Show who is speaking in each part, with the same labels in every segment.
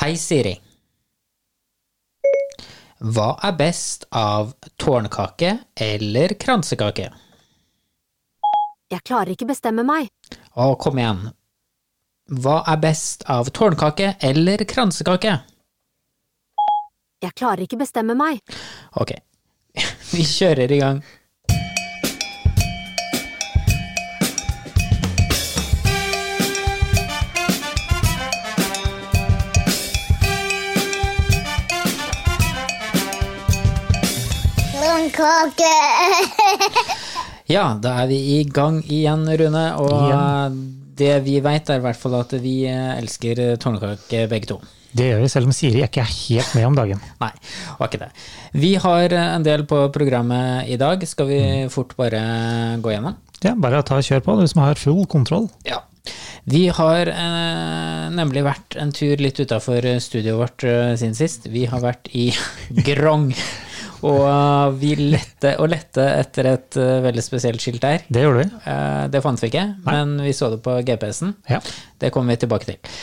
Speaker 1: Hei, Siri. Hva er best av tårnkake eller kransekake?
Speaker 2: Jeg klarer ikke bestemme meg.
Speaker 1: Å, kom igjen. Hva er best av tårnkake eller kransekake?
Speaker 2: Jeg klarer ikke bestemme meg.
Speaker 1: Ok, vi kjører i gang.
Speaker 3: Blomkake.
Speaker 1: Ja, da er vi i gang igjen, Rune. Og det vi veit, er i hvert fall at vi eh, elsker tårnkake begge to.
Speaker 4: Det gjør vi, selv om Siri ikke er helt med om dagen.
Speaker 1: Nei, var ikke det. Vi har eh, en del på programmet i dag. Skal vi fort bare gå gjennom?
Speaker 4: Ja, bare ta og kjør på, du som har full kontroll.
Speaker 1: Ja. Vi har eh, nemlig vært en tur litt utafor studioet vårt eh, siden sist. Vi har vært i Grong. Og eh, vi lette og lette etter et eh, veldig spesielt skilt der.
Speaker 4: Det gjorde vi.
Speaker 1: Eh, det fant vi ikke, men vi så det på GPS-en.
Speaker 4: Ja.
Speaker 1: Det kommer vi tilbake til.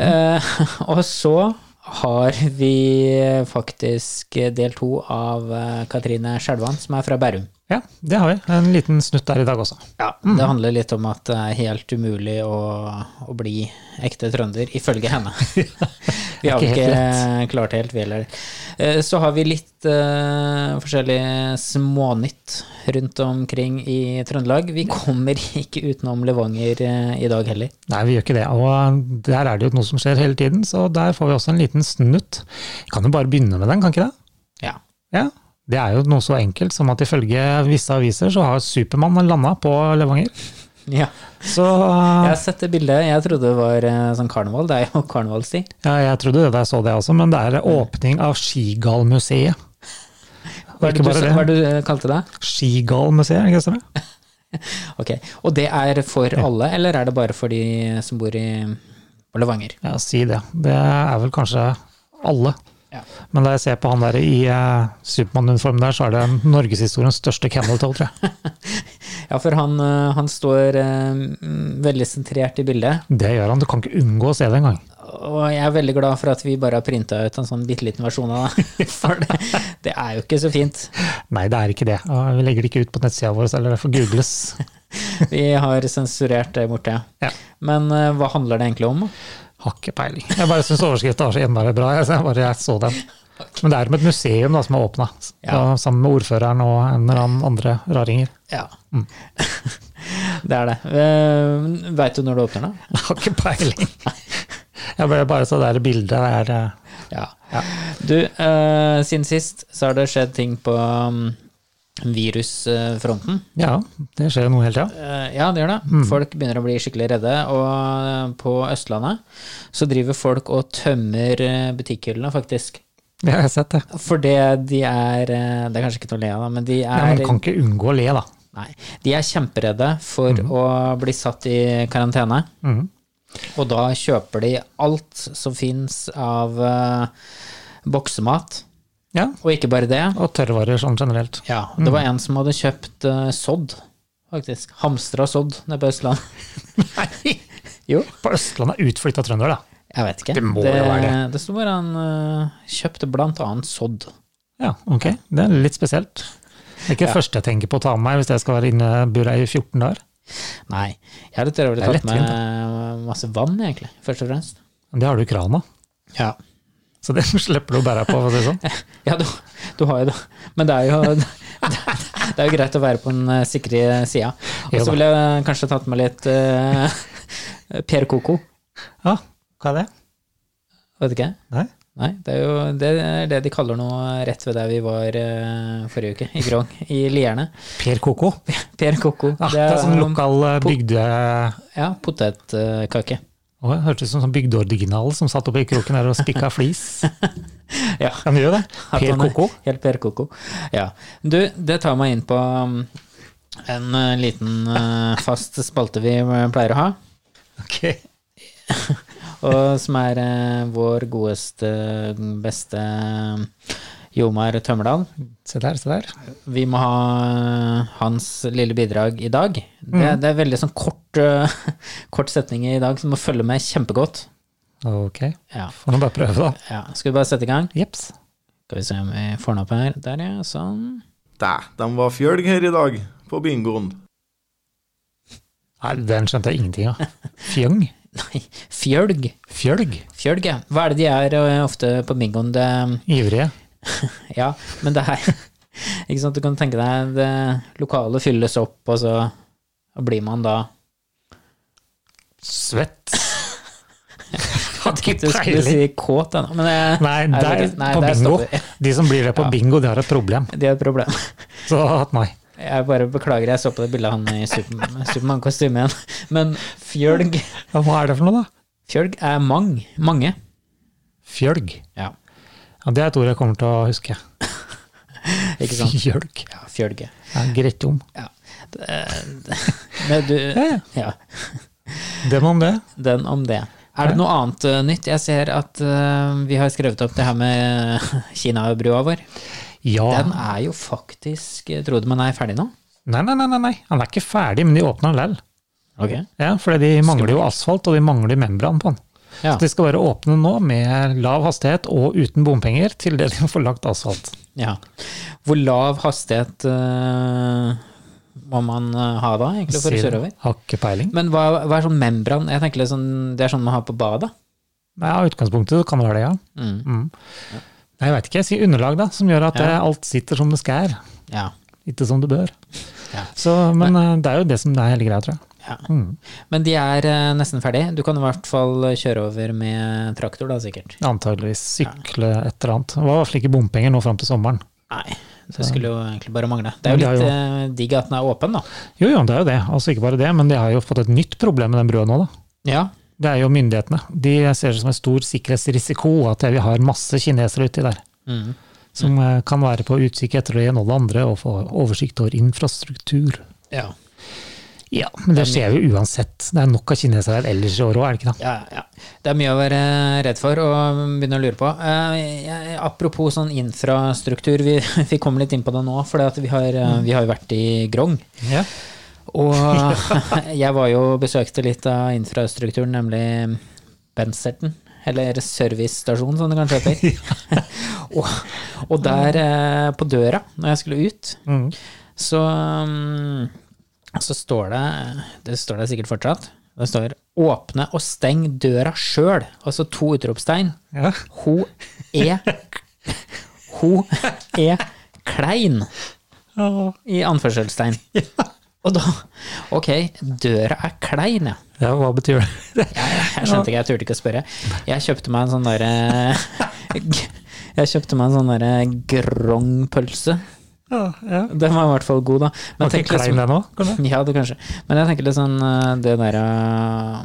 Speaker 1: Eh, og så har vi faktisk del to av eh, Katrine Skjelvan, som er fra Bærum.
Speaker 4: ja, det har vi. En liten snutt der i dag også.
Speaker 1: Ja, Det handler litt om at det er helt umulig å, å bli ekte trønder, ifølge henne. vi har
Speaker 4: Ikke helt
Speaker 1: ikke klart det helt, vi heller. Eh, Så har vi litt eh, forskjellig smånytt rundt omkring i Trøndelag. Vi kommer ikke utenom Levanger eh, i dag heller.
Speaker 4: Nei, vi gjør ikke det. Og der er det jo noe som skjer hele tiden, så der får vi også en liten snutt. Kan jo bare begynne med den, kan ikke det?
Speaker 1: Ja.
Speaker 4: Ja. Det er jo noe så enkelt som at ifølge visse aviser så har Supermann landa på Levanger.
Speaker 1: ja.
Speaker 4: Så
Speaker 1: Jeg har sett det bildet. Jeg trodde det var eh, sånn karneval. Det er jo karnevalstid.
Speaker 4: ja, jeg trodde det da jeg så det også, men det er åpning av Skigallmuseet. Og
Speaker 1: Hva er det
Speaker 4: ikke
Speaker 1: du,
Speaker 4: bare
Speaker 1: hva er
Speaker 4: det.
Speaker 1: det du eh, kalte det?
Speaker 4: Skigallmuseet, ikke sant?
Speaker 1: Ok, Og det er for alle, eller er det bare for de som bor i på Levanger?
Speaker 4: Ja, si det. Det er vel kanskje alle.
Speaker 1: Ja.
Speaker 4: Men da jeg ser på han der i eh, Supermann-uniform der, så er det norgeshistoriens største kennel toll, tror jeg.
Speaker 1: Ja, for han, eh, han står eh, mm, veldig sentrert i bildet,
Speaker 4: Det gjør han. Du kan ikke unngå å se det engang.
Speaker 1: og jeg er veldig glad for at vi bare har printa ut en sånn bitte liten versjon av det. For det, det er jo ikke så fint.
Speaker 4: Nei, det er ikke det. Og Vi legger det ikke ut på nettsida vår, eller det får googles.
Speaker 1: Vi har sensurert det borte.
Speaker 4: Ja.
Speaker 1: Men eh, hva handler det egentlig om?
Speaker 4: Har ikke peiling. Jeg bare syns overskrifta var så innmari bra. Jeg, så jeg bare jeg så den. Men det er om et museum da, som er åpna,
Speaker 1: Ja.
Speaker 4: sammen med ordføreren og en eller annen andre raringer.
Speaker 1: Ja. Det er det. Uh, Veit du når det åpner, da?
Speaker 4: Jeg har ikke peiling. Jeg bare, bare så det der bildet der eh,
Speaker 1: Ja. Du, eh, siden sist så har det skjedd ting på mm, virusfronten.
Speaker 4: Ja, det skjer jo noe hele tida.
Speaker 1: Eh, Ja, det gjør det.
Speaker 4: Mm.
Speaker 1: Folk begynner å bli skikkelig redde. Og eh, på Østlandet så driver folk og tømmer eh, butikkhyllene, faktisk.
Speaker 4: Jeg har sett det.
Speaker 1: For det de er eh, Det er kanskje ikke noe å le av, da, men de
Speaker 4: Ja,
Speaker 1: er
Speaker 4: men du kan ikke unngå å le, da.
Speaker 1: Nei. De er kjemperedde for
Speaker 4: Mm.
Speaker 1: å bli satt i karantene.
Speaker 4: Mhm.
Speaker 1: Og da kjøper de alt som fins av eh, boksemat.
Speaker 4: Ja,
Speaker 1: Og ikke bare det.
Speaker 4: og tørrvarer sånn generelt.
Speaker 1: Ja, det
Speaker 4: Mm.
Speaker 1: var en som hadde kjøpt eh, sodd, faktisk. Hamstra sodd nede på Østlandet.
Speaker 4: Nei!
Speaker 1: Jo.
Speaker 4: På Østlandet er utflytta trønder, da.
Speaker 1: Jeg vet ikke.
Speaker 4: Det må jo være det.
Speaker 1: Det sto bare han eh, kjøpte blant annet sodd.
Speaker 4: Ja, ok. Det er litt spesielt. Det er ikke det første jeg tenker på å ta med meg hvis jeg skal være innebura i 14 dager.
Speaker 1: Nei, jeg hadde trøvelig
Speaker 4: Det er
Speaker 1: tatt med masse vann, egentlig, først og fremst.
Speaker 4: Men det har du i krana,
Speaker 1: Ja.
Speaker 4: så det slipper du å bære på. For å si det sånn.
Speaker 1: du, du har jo det. Men det er jo, det, det er jo greit å være på den eh, sikre sida. Og
Speaker 4: Jo da.
Speaker 1: så ville jeg kanskje tatt med litt eh, Per Koko.
Speaker 4: Ja, hva er det?
Speaker 1: Vet ikke.
Speaker 4: Nei?
Speaker 1: Nei, det er jo det, er det de kaller noe rett ved der vi var eh, forrige uke, i Grong, i Lierne.
Speaker 4: Per Koko.
Speaker 1: Per Koko.
Speaker 4: Ja, det er sånn lokal eh, bygde...
Speaker 1: Ja, potetkake.
Speaker 4: Å, det hørtes ut som sånn bygdeoriginal som satt oppe i kroken der og spikka flis.
Speaker 1: Ja.
Speaker 4: Kan du gjøre det?
Speaker 1: At
Speaker 4: Per
Speaker 1: han er
Speaker 4: Koko.
Speaker 1: Helt Per Koko. Ja. Du, det tar meg inn på um, en eh, liten eh, fast spalte vi uh, pleier å ha,
Speaker 4: Ok.
Speaker 1: og som er eh, vår godeste, beste um, Jomar Tømmerdal.
Speaker 4: Se der, se der.
Speaker 1: Vi må ha eh, hans lille bidrag i dag.
Speaker 4: Mm.
Speaker 1: uh, Det, det er veldig sånn kort, eh, kort setning i dag, så du må følge med kjempegodt.
Speaker 4: Ok,
Speaker 1: Ja.
Speaker 4: får nå bare prøve, da.
Speaker 1: ja. Skal vi bare sette i gang?
Speaker 4: Jeps.
Speaker 1: Skal vi se om vi får den opp her. Der, ja. Sånn.
Speaker 3: Dæ, de var fjølg her i dag, på bingoen.
Speaker 4: Nei, den skjønte jeg ingenting av. Fjøng?
Speaker 1: Nei, fjølg.
Speaker 4: Fjølg?
Speaker 1: Fjølg, ja. Hva er det de er eh, ofte på bingoen? Det,
Speaker 4: Ivrige?
Speaker 1: ja, men det er Ikke sant, du kan tenke deg det lokale fylles opp, og så blir man da
Speaker 4: Svett? Hadde
Speaker 1: Du
Speaker 4: ikke
Speaker 1: skulle
Speaker 4: peiling.
Speaker 1: si kåt, da, nå, men eh,
Speaker 4: Nei,
Speaker 1: det
Speaker 4: der,
Speaker 1: er ikke- nei,
Speaker 4: på
Speaker 1: der
Speaker 4: bingo.
Speaker 1: stopper
Speaker 4: De som blir det på
Speaker 1: Ja.
Speaker 4: bingo, de har et problem.
Speaker 1: vi. det er et problem.
Speaker 4: Så at nei.
Speaker 1: Jeg bare beklager, jeg så på det bildet av han i Superman- Supermann-kostyme igjen. Men fjølg
Speaker 4: Ja, Hva er det for noe, da?
Speaker 1: Fjølg er mang. Mange.
Speaker 4: Fjølg.
Speaker 1: Ja,
Speaker 4: Ja, det er et ord jeg kommer til å huske.
Speaker 1: ikke sant.
Speaker 4: Fjølg.
Speaker 1: Ja, fjølge.
Speaker 4: Ja, Greit om.
Speaker 1: Men du,
Speaker 4: Ja, ja.
Speaker 1: ja,
Speaker 4: Det må om det.
Speaker 1: den om det. Er det noe annet eh, nytt? Jeg ser at eh, vi har skrevet opp det her med eh, Kinabrua vår.
Speaker 4: Ja.
Speaker 1: Den er jo faktisk eh, Tror du man er ferdig nå?
Speaker 4: Nei, nei, nei, nei, nei. Han er ikke ferdig, men de åpner den likevel.
Speaker 1: Ok.
Speaker 4: Ja, for de mangler jo asfalt, og de mangler membran på den.
Speaker 1: Ja.
Speaker 4: Så de skal bare åpne nå med lav hastighet og uten bompenger til det de får lagt asfalt.
Speaker 1: ja. Hvor lav hastighet eh, må man eh, ha da, egentlig, for å kjøre over?
Speaker 4: Har ikke peiling.
Speaker 1: Men hva, hva er sånn membran? Jeg tenker litt sånn, Det er sånn man har på badet.
Speaker 4: Nei, ja, utgangspunktet kan det være det, ja.
Speaker 1: Mm.
Speaker 4: Nei, jeg veit ikke. Jeg sier underlag, da, som gjør at
Speaker 1: Ja.
Speaker 4: eh, alt sitter som det skal.
Speaker 1: Ja.
Speaker 4: Ikke som det bør.
Speaker 1: Ja.
Speaker 4: Så, men eh, det er jo det som er hele greia, tror jeg.
Speaker 1: Ja.
Speaker 4: Mm.
Speaker 1: Men de er eh, nesten ferdig. Du kan i hvert fall eh, kjøre over med traktor, da, sikkert.
Speaker 4: Antageligvis sykle et eller annet. Det var i hvert fall ikke bompenger nå fram til sommeren.
Speaker 1: Nei, det skulle jo egentlig bare mangle. Det er jo
Speaker 4: Men
Speaker 1: litt
Speaker 4: de
Speaker 1: eh, digg at den er åpen, da.
Speaker 4: Jo, jo, det er jo det. Altså ikke bare det, men de har jo fått et nytt problem med den brua nå, da.
Speaker 1: Ja.
Speaker 4: Det er jo myndighetene. De ser det som en stor sikkerhetsrisiko at vi har masse kinesere uti der.
Speaker 1: Mm.
Speaker 4: Som eh, kan være på utkikk etter det ene og det andre og få oversikt over infrastruktur.
Speaker 1: Ja.
Speaker 4: Ja, men det skjer jo uansett. Det er nok av kinesere her ellers i året òg, er det ikke det?
Speaker 1: Ja, ja. Det er mye å være redd for og begynne å lure på. Eh, jeg- apropos sånn infrastruktur, vi, vi kom litt inn på det nå, for vi, har, eh, vi har jo vært i Grong.
Speaker 4: Ja.
Speaker 1: Og jeg var jo besøkte litt av infrastrukturen, nemlig Benserten. Eller servicestasjonen, som det kanskje heter. og, og der eh, på døra, når jeg skulle ut,
Speaker 4: Mm.
Speaker 1: så, um, så står det Det står der sikkert fortsatt. Det står 'Åpne og steng døra sjøl'. Altså to utropstegn.
Speaker 4: Ja.
Speaker 1: Ho er Ho er klein i anførselstegn. Og da Ok, døra er klein, ja.
Speaker 4: ja, hva betyr det?
Speaker 1: Jeg skjønte ikke, jeg turte ikke å spørre. Jeg kjøpte meg en sånn derre Jeg kjøpte meg en sånn derre grongpølse.
Speaker 4: ja, ja.
Speaker 1: Den var i hvert fall god, da. Men
Speaker 4: Var
Speaker 1: tenk
Speaker 4: ikke
Speaker 1: liksom-
Speaker 4: klein den òg?
Speaker 1: ja, det kanskje. Men jeg tenker litt sånn eh, det derre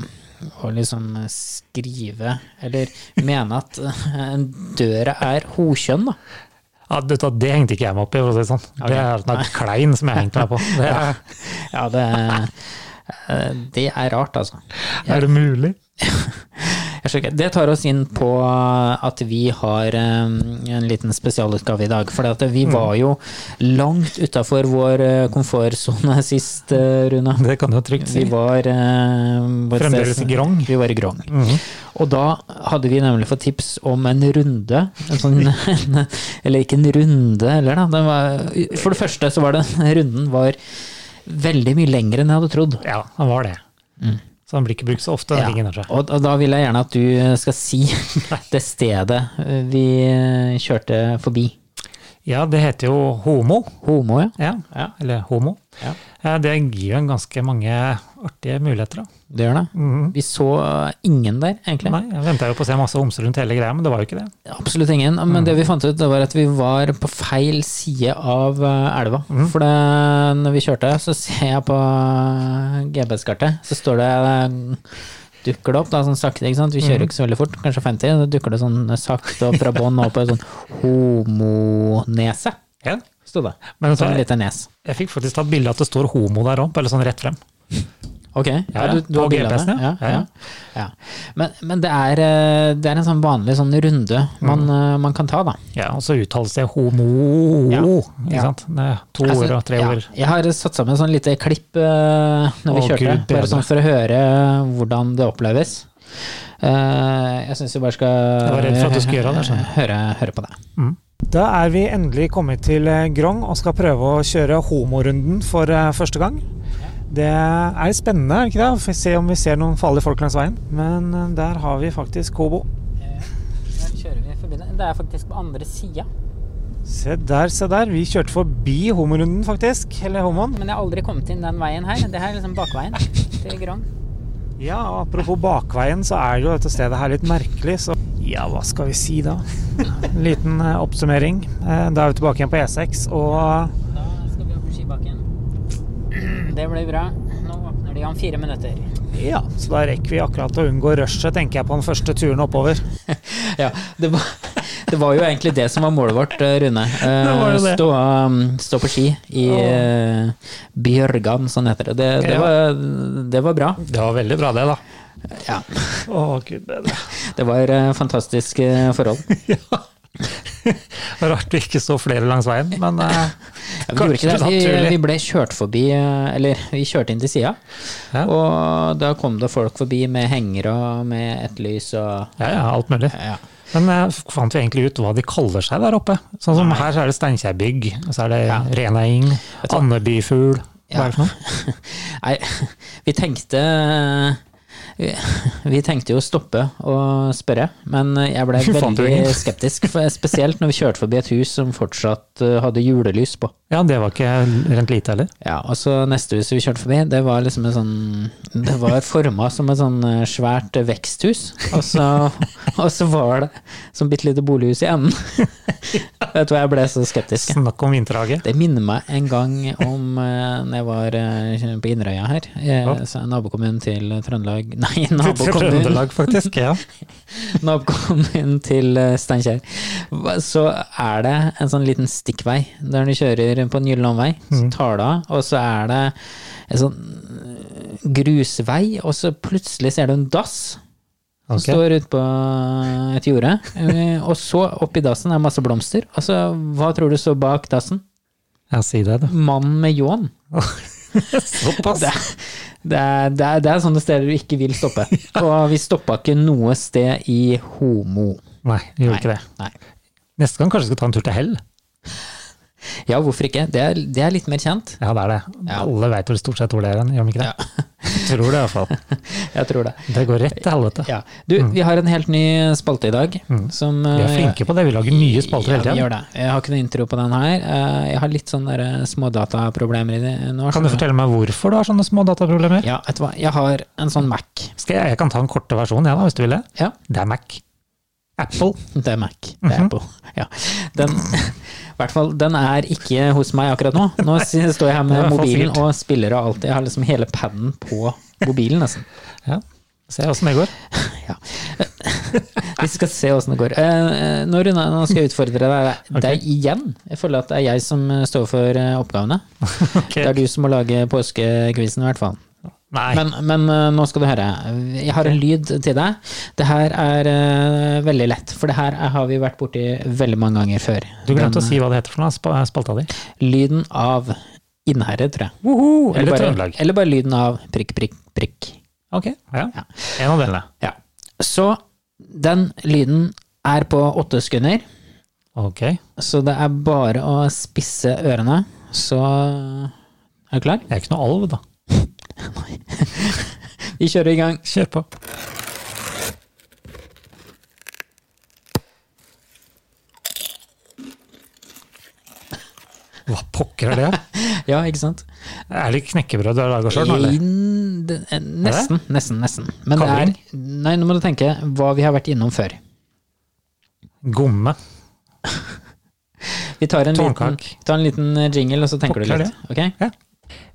Speaker 1: å liksom skrive, eller mene at eh, døra er hokjønn, da.
Speaker 4: Ja, du vet hva, det hengte ikke jeg meg opp i, for å si det sånn. Det er den der klein som jeg hengte meg på. Det er,
Speaker 1: Ja, det, eh, det er rart, altså.
Speaker 4: er det mulig?
Speaker 1: Jeg skjønner ikke. Det tar oss inn på at vi har eh, en liten spesialutgave i dag. For vi var jo langt utafor vår eh, komfortsone sist, eh, Runa.
Speaker 4: Det kan du trygt si.
Speaker 1: Vi var eh, på et sted-
Speaker 4: Fremdeles i Grong. Mhm.
Speaker 1: Vi var i Grong. Og da hadde vi nemlig fått tips om en runde. En sånn, en, eller ikke en runde, eller da. Den var, for det første så var det runden var veldig mye lengre enn jeg hadde trodd.
Speaker 4: Ja, han var det. Så han blir ikke brukt så ofte, den ringen der. så.
Speaker 1: Og, og da vil jeg gjerne at du eh, skal si det stedet eh, vi kjørte forbi.
Speaker 4: Ja, det heter jo homo.
Speaker 1: Homo, ja.
Speaker 4: Ja,
Speaker 1: Ja.
Speaker 4: eller homo.
Speaker 1: Ja.
Speaker 4: Eh, Det gir jo en ganske mange artige muligheter, da.
Speaker 1: Det gjør det.
Speaker 4: Mm.
Speaker 1: Vi så ingen der, egentlig.
Speaker 4: Nei, jeg venta jo på å se masse homser rundt hele greia, men det var jo ikke det.
Speaker 1: Absolutt ingen. Men det vi fant ut, det var at vi var på feil side av eh, elva. For det, når vi kjørte, så ser jeg på eh, GPS-kartet, så står det eh, Dukker det opp, da, sånn sakte, ikke sant? Vi kjører jo ikke så veldig fort, kanskje 50, så dukker det sånn sakte opp fra bånn og opp på et sånn homonese,
Speaker 4: Ja.
Speaker 1: sto det.
Speaker 4: Men så,
Speaker 1: Sånn
Speaker 4: jeg,
Speaker 1: lite nes.
Speaker 4: jeg fikk faktisk tatt bilde av at det står homo der òg, eller sånn rett frem.
Speaker 1: Ok, ja,
Speaker 4: Ja, ja.
Speaker 1: du, du har
Speaker 4: På
Speaker 1: bildet av
Speaker 4: GPS-en,
Speaker 1: det? Ja,
Speaker 4: ja.
Speaker 1: ja. ja. Men, men det, er, eh, det er en sånn vanlig sånn runde man, eh, man kan ta, da.
Speaker 4: Ja, Og så uttales det homo,
Speaker 1: Ja.
Speaker 4: ikke
Speaker 1: Ja.
Speaker 4: sant. Det er to
Speaker 1: Altså,
Speaker 4: ord og tre
Speaker 1: ja,
Speaker 4: ord.
Speaker 1: Jeg har satt sammen sånn lite klipp eh, når vi
Speaker 4: Å,
Speaker 1: kjørte,
Speaker 4: Gud, bedre.
Speaker 1: bare sånn for å høre hvordan det oppleves. Eh, jeg syns vi bare skal
Speaker 4: Jeg var redd for at du skulle gjøre det, skjønner
Speaker 1: høre, høre på det.
Speaker 5: Da er vi endelig kommet til eh, Grong og skal prøve å kjøre homorunden for eh, første gang. Det er spennende, er det ikke det? Får se om vi ser noen farlige folk langs veien. Men eh, der har vi faktisk Kobo.
Speaker 1: Det er faktisk på andre sida,
Speaker 5: Se der, se der. Vi kjørte forbi homorunden, faktisk. Eller homoen.
Speaker 1: men jeg har aldri kommet inn den veien her. Det her er liksom bakveien til Grong.
Speaker 5: Ja, og apropos bakveien, så er jo dette stedet her litt merkelig, så Ja, hva skal vi si da? En liten eh, oppsummering. Eh, Da er vi tilbake igjen på E6, og
Speaker 1: Da skal vi opp i skibakken. Det blir bra. Nå åpner de om fire minutter.
Speaker 5: eh, ja, så da rekker vi akkurat å unngå rushet, tenker jeg, på den første turen oppover.
Speaker 1: Ja, det var, det var jo egentlig det som var målet vårt, eh, Rune. Eh,
Speaker 4: Det var jo det.
Speaker 1: Stå, um, stå på ski i eh, Bjørgan, sånn heter det. Det, det,
Speaker 4: Ja.
Speaker 1: var, det var bra.
Speaker 4: Det var veldig bra, det, da.
Speaker 1: Ja.
Speaker 5: Å, gud bedre.
Speaker 1: Det var eh, fantastiske forhold.
Speaker 4: Rart vi ikke så flere langs veien, men eh,
Speaker 1: Ja, vi, gjorde ikke det.
Speaker 4: naturlig.
Speaker 1: Vi, vi ble kjørt forbi, eh, eller vi kjørte inn til sida,
Speaker 4: Ja.
Speaker 1: og da kom det folk forbi med hengere og med et lys og
Speaker 4: ja, ja, alt mulig.
Speaker 1: ja.
Speaker 4: Men eh, fant vi egentlig ut hva de kaller seg der oppe? Sånn som her så er det Steinkjerbygg, og så er det
Speaker 1: Ja.
Speaker 4: Renæing, Andebyfugl.
Speaker 1: Ja.
Speaker 4: Hva er det for noe?
Speaker 1: Nei, vi tenkte vi, vi tenkte jo å stoppe og spørre, men jeg ble
Speaker 4: Vi fant jo
Speaker 1: veldig
Speaker 4: ingen.
Speaker 1: skeptisk. for- Spesielt når vi kjørte forbi et hus som fortsatt eh, hadde julelys på.
Speaker 4: Ja, det var ikke rent lite heller.
Speaker 1: Ja, og så neste huset vi kjørte forbi, det var liksom en sånn Det var forma som et sånn eh, svært veksthus, og så, og så var det som bitte lite bolighus i enden. Vet du hva, jeg ble så skeptisk.
Speaker 4: Snakk om vinterhage.
Speaker 1: Det minner meg en gang om eh, når jeg var eh, på Inderøya her. Eh,
Speaker 4: Ja.
Speaker 1: så nabokommunen til Trøndelag Nei,
Speaker 4: Til
Speaker 1: nabokommunen,
Speaker 4: Trøndelag, faktisk. Ja.
Speaker 1: nabokommunen til eh, Steinkjer. Hva- Så er det en sånn liten stikkvei der du kjører på en gyllen omvei.
Speaker 4: Mm.
Speaker 1: Så tar du av, og så er det en sånn eh, grusvei, og så plutselig ser du en dass. Som
Speaker 4: Ok.
Speaker 1: står ute på et jorde. Eh, Og så, oppi dassen, er masse blomster. Og så, hva tror du står bak dassen?
Speaker 4: ja, si det, du.
Speaker 1: Mannen med ljåen.
Speaker 4: Såpass.
Speaker 1: Det, det, er, det, er, det er sånne steder du ikke vil stoppe. Og vi stoppa ikke noe sted i Homo.
Speaker 4: Nei, vi gjorde ikke det.
Speaker 1: Nei.
Speaker 4: Neste gang kanskje vi skal ta en tur til Hell.
Speaker 1: Ja, hvorfor ikke? Det er, det er litt mer kjent.
Speaker 4: Ja, det er det.
Speaker 1: Ja.
Speaker 4: Alle veit vel stort sett hvor det er hen, gjør de ikke det? Jeg tror det, i hvert fall.
Speaker 1: Jeg tror det.
Speaker 4: Det går rett til helvete.
Speaker 1: Ja. Du, vi har en helt ny spalte i dag. Som,
Speaker 4: Mm.
Speaker 1: eh,
Speaker 4: Vi er flinke på det, vi lager nye spalter
Speaker 1: Ja,
Speaker 4: hele
Speaker 1: vi
Speaker 4: tiden.
Speaker 1: gjør det. Jeg har ikke noe intro på den her. Eh, Jeg har litt sånne der smådataproblemer i det nå.
Speaker 4: Kan du
Speaker 1: skjønner
Speaker 4: fortelle meg hvorfor du har sånne små dataproblemer?
Speaker 1: Ja, vet du hva. Jeg har en sånn Mac.
Speaker 4: Skal jeg, jeg kan ta en korte versjon, jeg da, hvis du vil det.
Speaker 1: Ja,
Speaker 4: Det er Mac. Apple.
Speaker 1: det er Mac. Det
Speaker 4: Mhm.
Speaker 1: er Apple. Ja. Den, i hvert fall, den er ikke hos meg akkurat nå. Nå s- står jeg her
Speaker 4: Det
Speaker 1: med
Speaker 4: er for
Speaker 1: mobilen
Speaker 4: sikkert.
Speaker 1: og spiller og alt. Jeg har liksom hele paden på mobilen, nesten.
Speaker 4: Ja. Se åssen det går.
Speaker 1: Ja. Vi skal se åssen det går. Eh, eh, Nå, Rune, nå skal jeg utfordre deg, deg igjen. Jeg føler at det er jeg som eh, står for eh, oppgavene. Det er du som må lage påskekvisen, i hvert fall.
Speaker 4: Nei.
Speaker 1: Men, men eh, nå skal du høre. Jeg har en lyd til deg. Det her er eh, veldig lett, for det her har vi vært borti veldig mange ganger før.
Speaker 4: du glemte
Speaker 1: Den,
Speaker 4: å si hva det heter for noe, spa- spalta di.
Speaker 1: Lyden av Innherred, tror jeg.
Speaker 4: eller
Speaker 1: bare,
Speaker 4: Trøndelag.
Speaker 1: Eller bare lyden av prikk, prikk, prikk.
Speaker 4: Ok, ja. En av delene.
Speaker 1: Ja. Så den lyden er på åtte sekunder,
Speaker 4: Ok.
Speaker 1: så det er bare å spisse ørene. Så er du klar?
Speaker 4: Jeg er ikke noe alv, da.
Speaker 1: Vi kjører i gang.
Speaker 4: Kjør på. Hva pokker er det?
Speaker 1: Ja, ikke sant?
Speaker 4: Er det knekkebrød du har laga sjøl?
Speaker 1: Inn- det- eh, Nesten, nesten, nesten. Men det er
Speaker 4: Kavring?
Speaker 1: Nei, nå må du tenke hva vi har vært innom før.
Speaker 4: Gomme.
Speaker 1: Vi tar en, liten,
Speaker 4: Tårnkak.
Speaker 1: tar en liten jingle, og så tenker du
Speaker 4: Pokker
Speaker 1: litt. Ok?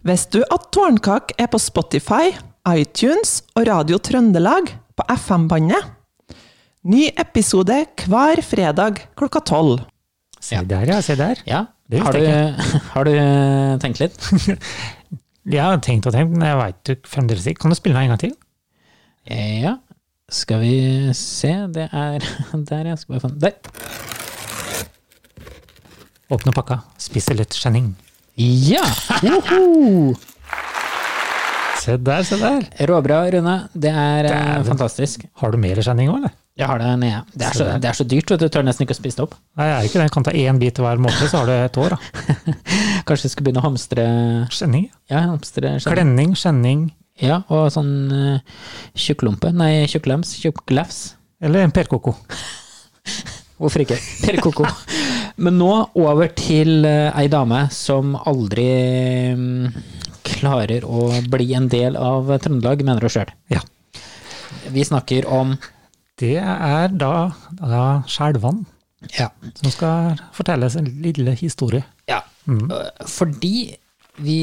Speaker 6: Visste du at Tårnkak er på Spotify, iTunes og Radio Trøndelag på FM-bandet? Ny episode hver fredag klokka tolv.
Speaker 4: Se der, ja. Se der.
Speaker 1: Ja.
Speaker 4: Det
Speaker 1: Har du,
Speaker 4: visste jeg
Speaker 1: har du eh, tenkt litt?
Speaker 4: Jeg har tenkt og tenkt, men jeg veit jo fremdeles ikke. Kan du spille den en gang til?
Speaker 1: Ja, skal vi se. Det er Der, ja. Skal bare få den. Der.
Speaker 4: Åpne pakka. Spise litt skjenning.
Speaker 1: Ja!
Speaker 4: Se der, se der.
Speaker 1: Råbra, Rune. Det er eh,
Speaker 4: Dæven.
Speaker 1: fantastisk.
Speaker 4: Har du mer i sending òg, eller?
Speaker 1: Jeg har det nede. Det er
Speaker 4: Se
Speaker 1: så,
Speaker 4: der.
Speaker 1: det er så dyrt, vet du. Tør nesten ikke å spise det opp.
Speaker 4: Nei, jeg er ikke det. Jeg kan ta én bit hver måned, så har du et år. da.
Speaker 1: Kanskje vi skal begynne å hamstre
Speaker 4: Skjenning. ja.
Speaker 1: Ja, hamstre skjønner.
Speaker 4: Klenning, skjenning
Speaker 1: Ja, og sånn eh, tjukklompe. Nei, tjukklems. Tjukklefs.
Speaker 4: eller en perkoko.
Speaker 1: Hvorfor ikke? Per Koko. Men nå over til eh, ei dame som aldri mm, klarer å bli en del av Trøndelag, mener hun sjøl.
Speaker 4: Ja.
Speaker 1: Vi snakker om
Speaker 4: Det er da, da Skjelvan
Speaker 1: Ja.
Speaker 4: som skal fortelle sin lille historie.
Speaker 1: ja.
Speaker 4: Mm.
Speaker 1: Eh, Fordi vi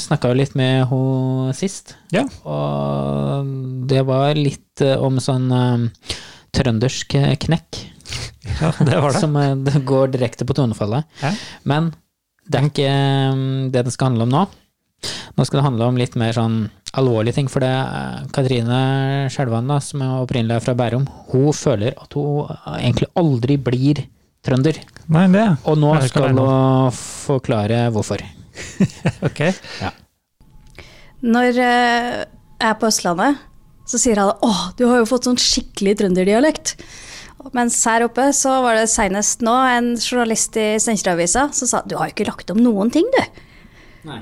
Speaker 1: snakka jo litt med henne sist,
Speaker 4: Ja.
Speaker 1: og det var litt eh, om sånn eh, trøndersk eh, knekk.
Speaker 4: ja, det var det.
Speaker 1: Som eh, det går direkte på tonefallet.
Speaker 4: Ja.
Speaker 1: Men det er ikke eh, det det skal handle om nå. Nå skal det handle om litt mer sånn alvorlige ting. For det eh, Katrine Skjelvan, da, som er opprinnelig er fra Bærum, hun føler at hun eh, egentlig aldri blir trønder.
Speaker 4: Nei, det.
Speaker 1: Og nå
Speaker 4: Jeg er ikke
Speaker 1: skal
Speaker 4: alene.
Speaker 1: hun forklare hvorfor.
Speaker 4: Ok.
Speaker 7: Når eh, jeg er på Østlandet, så sier alle åh, du har jo fått sånn skikkelig trønderdialekt. Mens her oppe så var det senest nå en journalist i Steinkjer-avisa som sa du har jo ikke lagt om noen ting, du.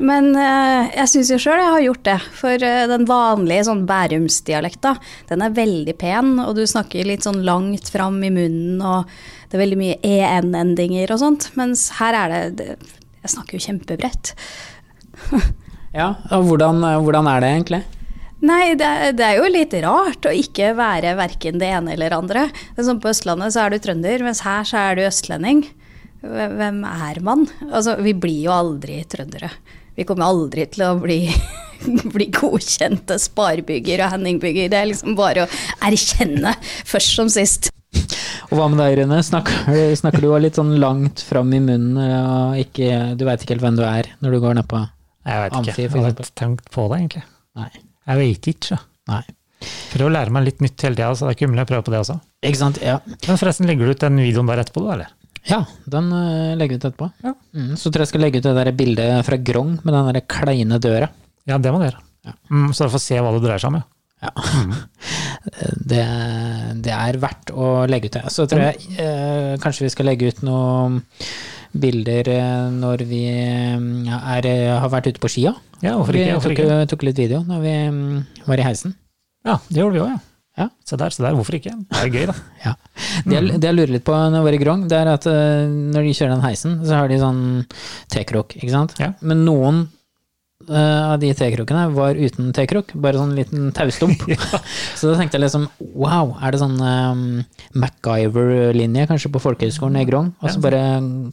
Speaker 7: Men eh, jeg syns jo sjøl jeg har gjort det. For eh, den vanlige sånn bærumsdialekta, den er veldig pen, og du snakker litt sånn langt fram i munnen, og det er veldig mye en-endinger og sånt. Mens her er det, det Jeg snakker jo kjempebredt.
Speaker 1: Ja, og hvordan, eh, hvordan er det egentlig?
Speaker 7: Nei, det er, det er jo litt rart å ikke være verken det ene eller andre. Det er sånn På Østlandet så er du trønder, mens her så er du østlending. Hve- Hvem er man? Altså, vi blir jo aldri trøndere. Vi kommer aldri til å bli, bli godkjente sparebygger og henningbygger. Det er liksom bare å erkjenne, først som sist.
Speaker 1: Og hva med deg, Rune? Snakker, du- snakker du også litt sånn langt fram i munnen, eh, og ikke, du veit ikke helt hvem du er når du går nedpå?
Speaker 4: Jeg veit
Speaker 1: Amfi, for
Speaker 4: ikke. Jeg hadde
Speaker 1: eksempel.
Speaker 4: ikke tenkt på det, egentlig.
Speaker 1: Nei.
Speaker 4: Jeg vet ikke. så.
Speaker 1: Nei.
Speaker 4: Prøv å lære meg litt nytt hele tida, så det er ikke umulig å prøve på det også.
Speaker 1: Ikke sant? Ja.
Speaker 4: Men forresten, legger du ut den videoen der etterpå, da, eller?
Speaker 1: Ja, den eh, legger vi ut etterpå.
Speaker 4: Ja.
Speaker 1: Mm, så tror jeg jeg skal legge ut det der bildet fra Grong med den der kleine døra.
Speaker 4: Ja, det må du gjøre.
Speaker 1: Ja.
Speaker 4: Mm, så du får se hva det dreier seg om, ja.
Speaker 1: Mm. Det, det er verdt å legge ut det. Så tror jeg eh, kanskje vi skal legge ut noen bilder eh, når vi eh, er, har vært ute på skia.
Speaker 4: Ja, hvorfor
Speaker 1: vi
Speaker 4: ikke? Hvorfor
Speaker 1: tok,
Speaker 4: ikke?
Speaker 1: tok litt video når vi mm, var i heisen.
Speaker 4: Ja, det gjorde vi òg, ja.
Speaker 1: Ja.
Speaker 4: Se der, se der. Hvorfor ikke? Det er gøy, da.
Speaker 1: Ja. Det, jeg- det jeg lurer litt på når jeg var i Grong, det er at eh, når de kjører den heisen, så har de sånn tekrok, ikke sant?
Speaker 4: Ja.
Speaker 1: Men noen eh, av de tekrokene var uten tekrok, bare sånn liten taustump. Så da tenkte jeg liksom, wow, er det sånn eh, MacGyver-linje kanskje på folkehøyskolen i Grong? Og så bare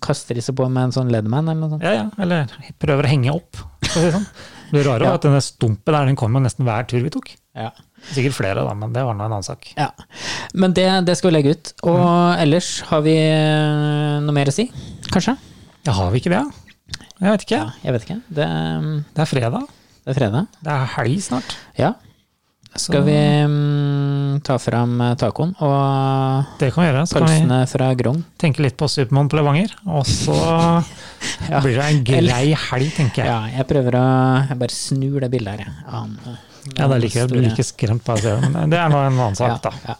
Speaker 1: kaster de seg på med en sånn Leadman eller noe sånt.
Speaker 4: Ja, ja. Eller prøver å henge opp, for å si det sånn. Det rare var at denne stumpen der, den kom jo nesten hver tur vi tok.
Speaker 1: Ja.
Speaker 4: Sikkert flere, da, men det var nå en annen sak.
Speaker 1: Ja, Men det, det skal vi legge ut. Og ellers har vi eh, noe mer å si, kanskje?
Speaker 4: Ja, har vi ikke det? Jeg vet ikke.
Speaker 1: Jeg vet ikke. Det, ehm, det
Speaker 4: Det er fredag.
Speaker 1: er fredag.
Speaker 4: Det er helg snart.
Speaker 1: Ja. Skal vi mm, ta fram eh, tacoen og
Speaker 4: Det kan vi gjøre. Så kan
Speaker 1: pølsene fra Grong?
Speaker 4: vi tenke litt på Supermann på Levanger, og så
Speaker 1: Ja.
Speaker 4: blir det en grei helg, tenker jeg.
Speaker 1: Ja, jeg prøver å Jeg bare snur det bildet her, jeg. Ja, men, eh,
Speaker 4: Ja, det er likevel blir like skremt bare å se det, men det er nå en annen
Speaker 1: Ja,
Speaker 4: sak, da.
Speaker 1: ja.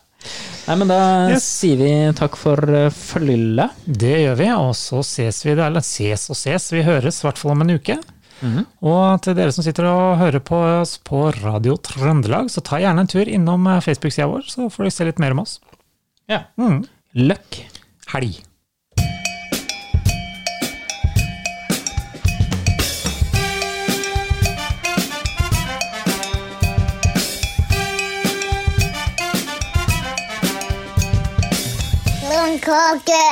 Speaker 1: Nei, men da
Speaker 4: Yes.
Speaker 1: sier vi takk for eh, følget.
Speaker 4: Det gjør vi, og så ses vi, eller ses og ses, vi høres i hvert fall om en uke. Og til dere som sitter og hører på oss på Radio Trøndelag, så ta gjerne en tur innom eh, Facebook-sida vår, så får du se litt mer om oss.
Speaker 1: Ja.
Speaker 4: Mm.
Speaker 1: Løkk.
Speaker 4: Helg.
Speaker 8: Blomkåke!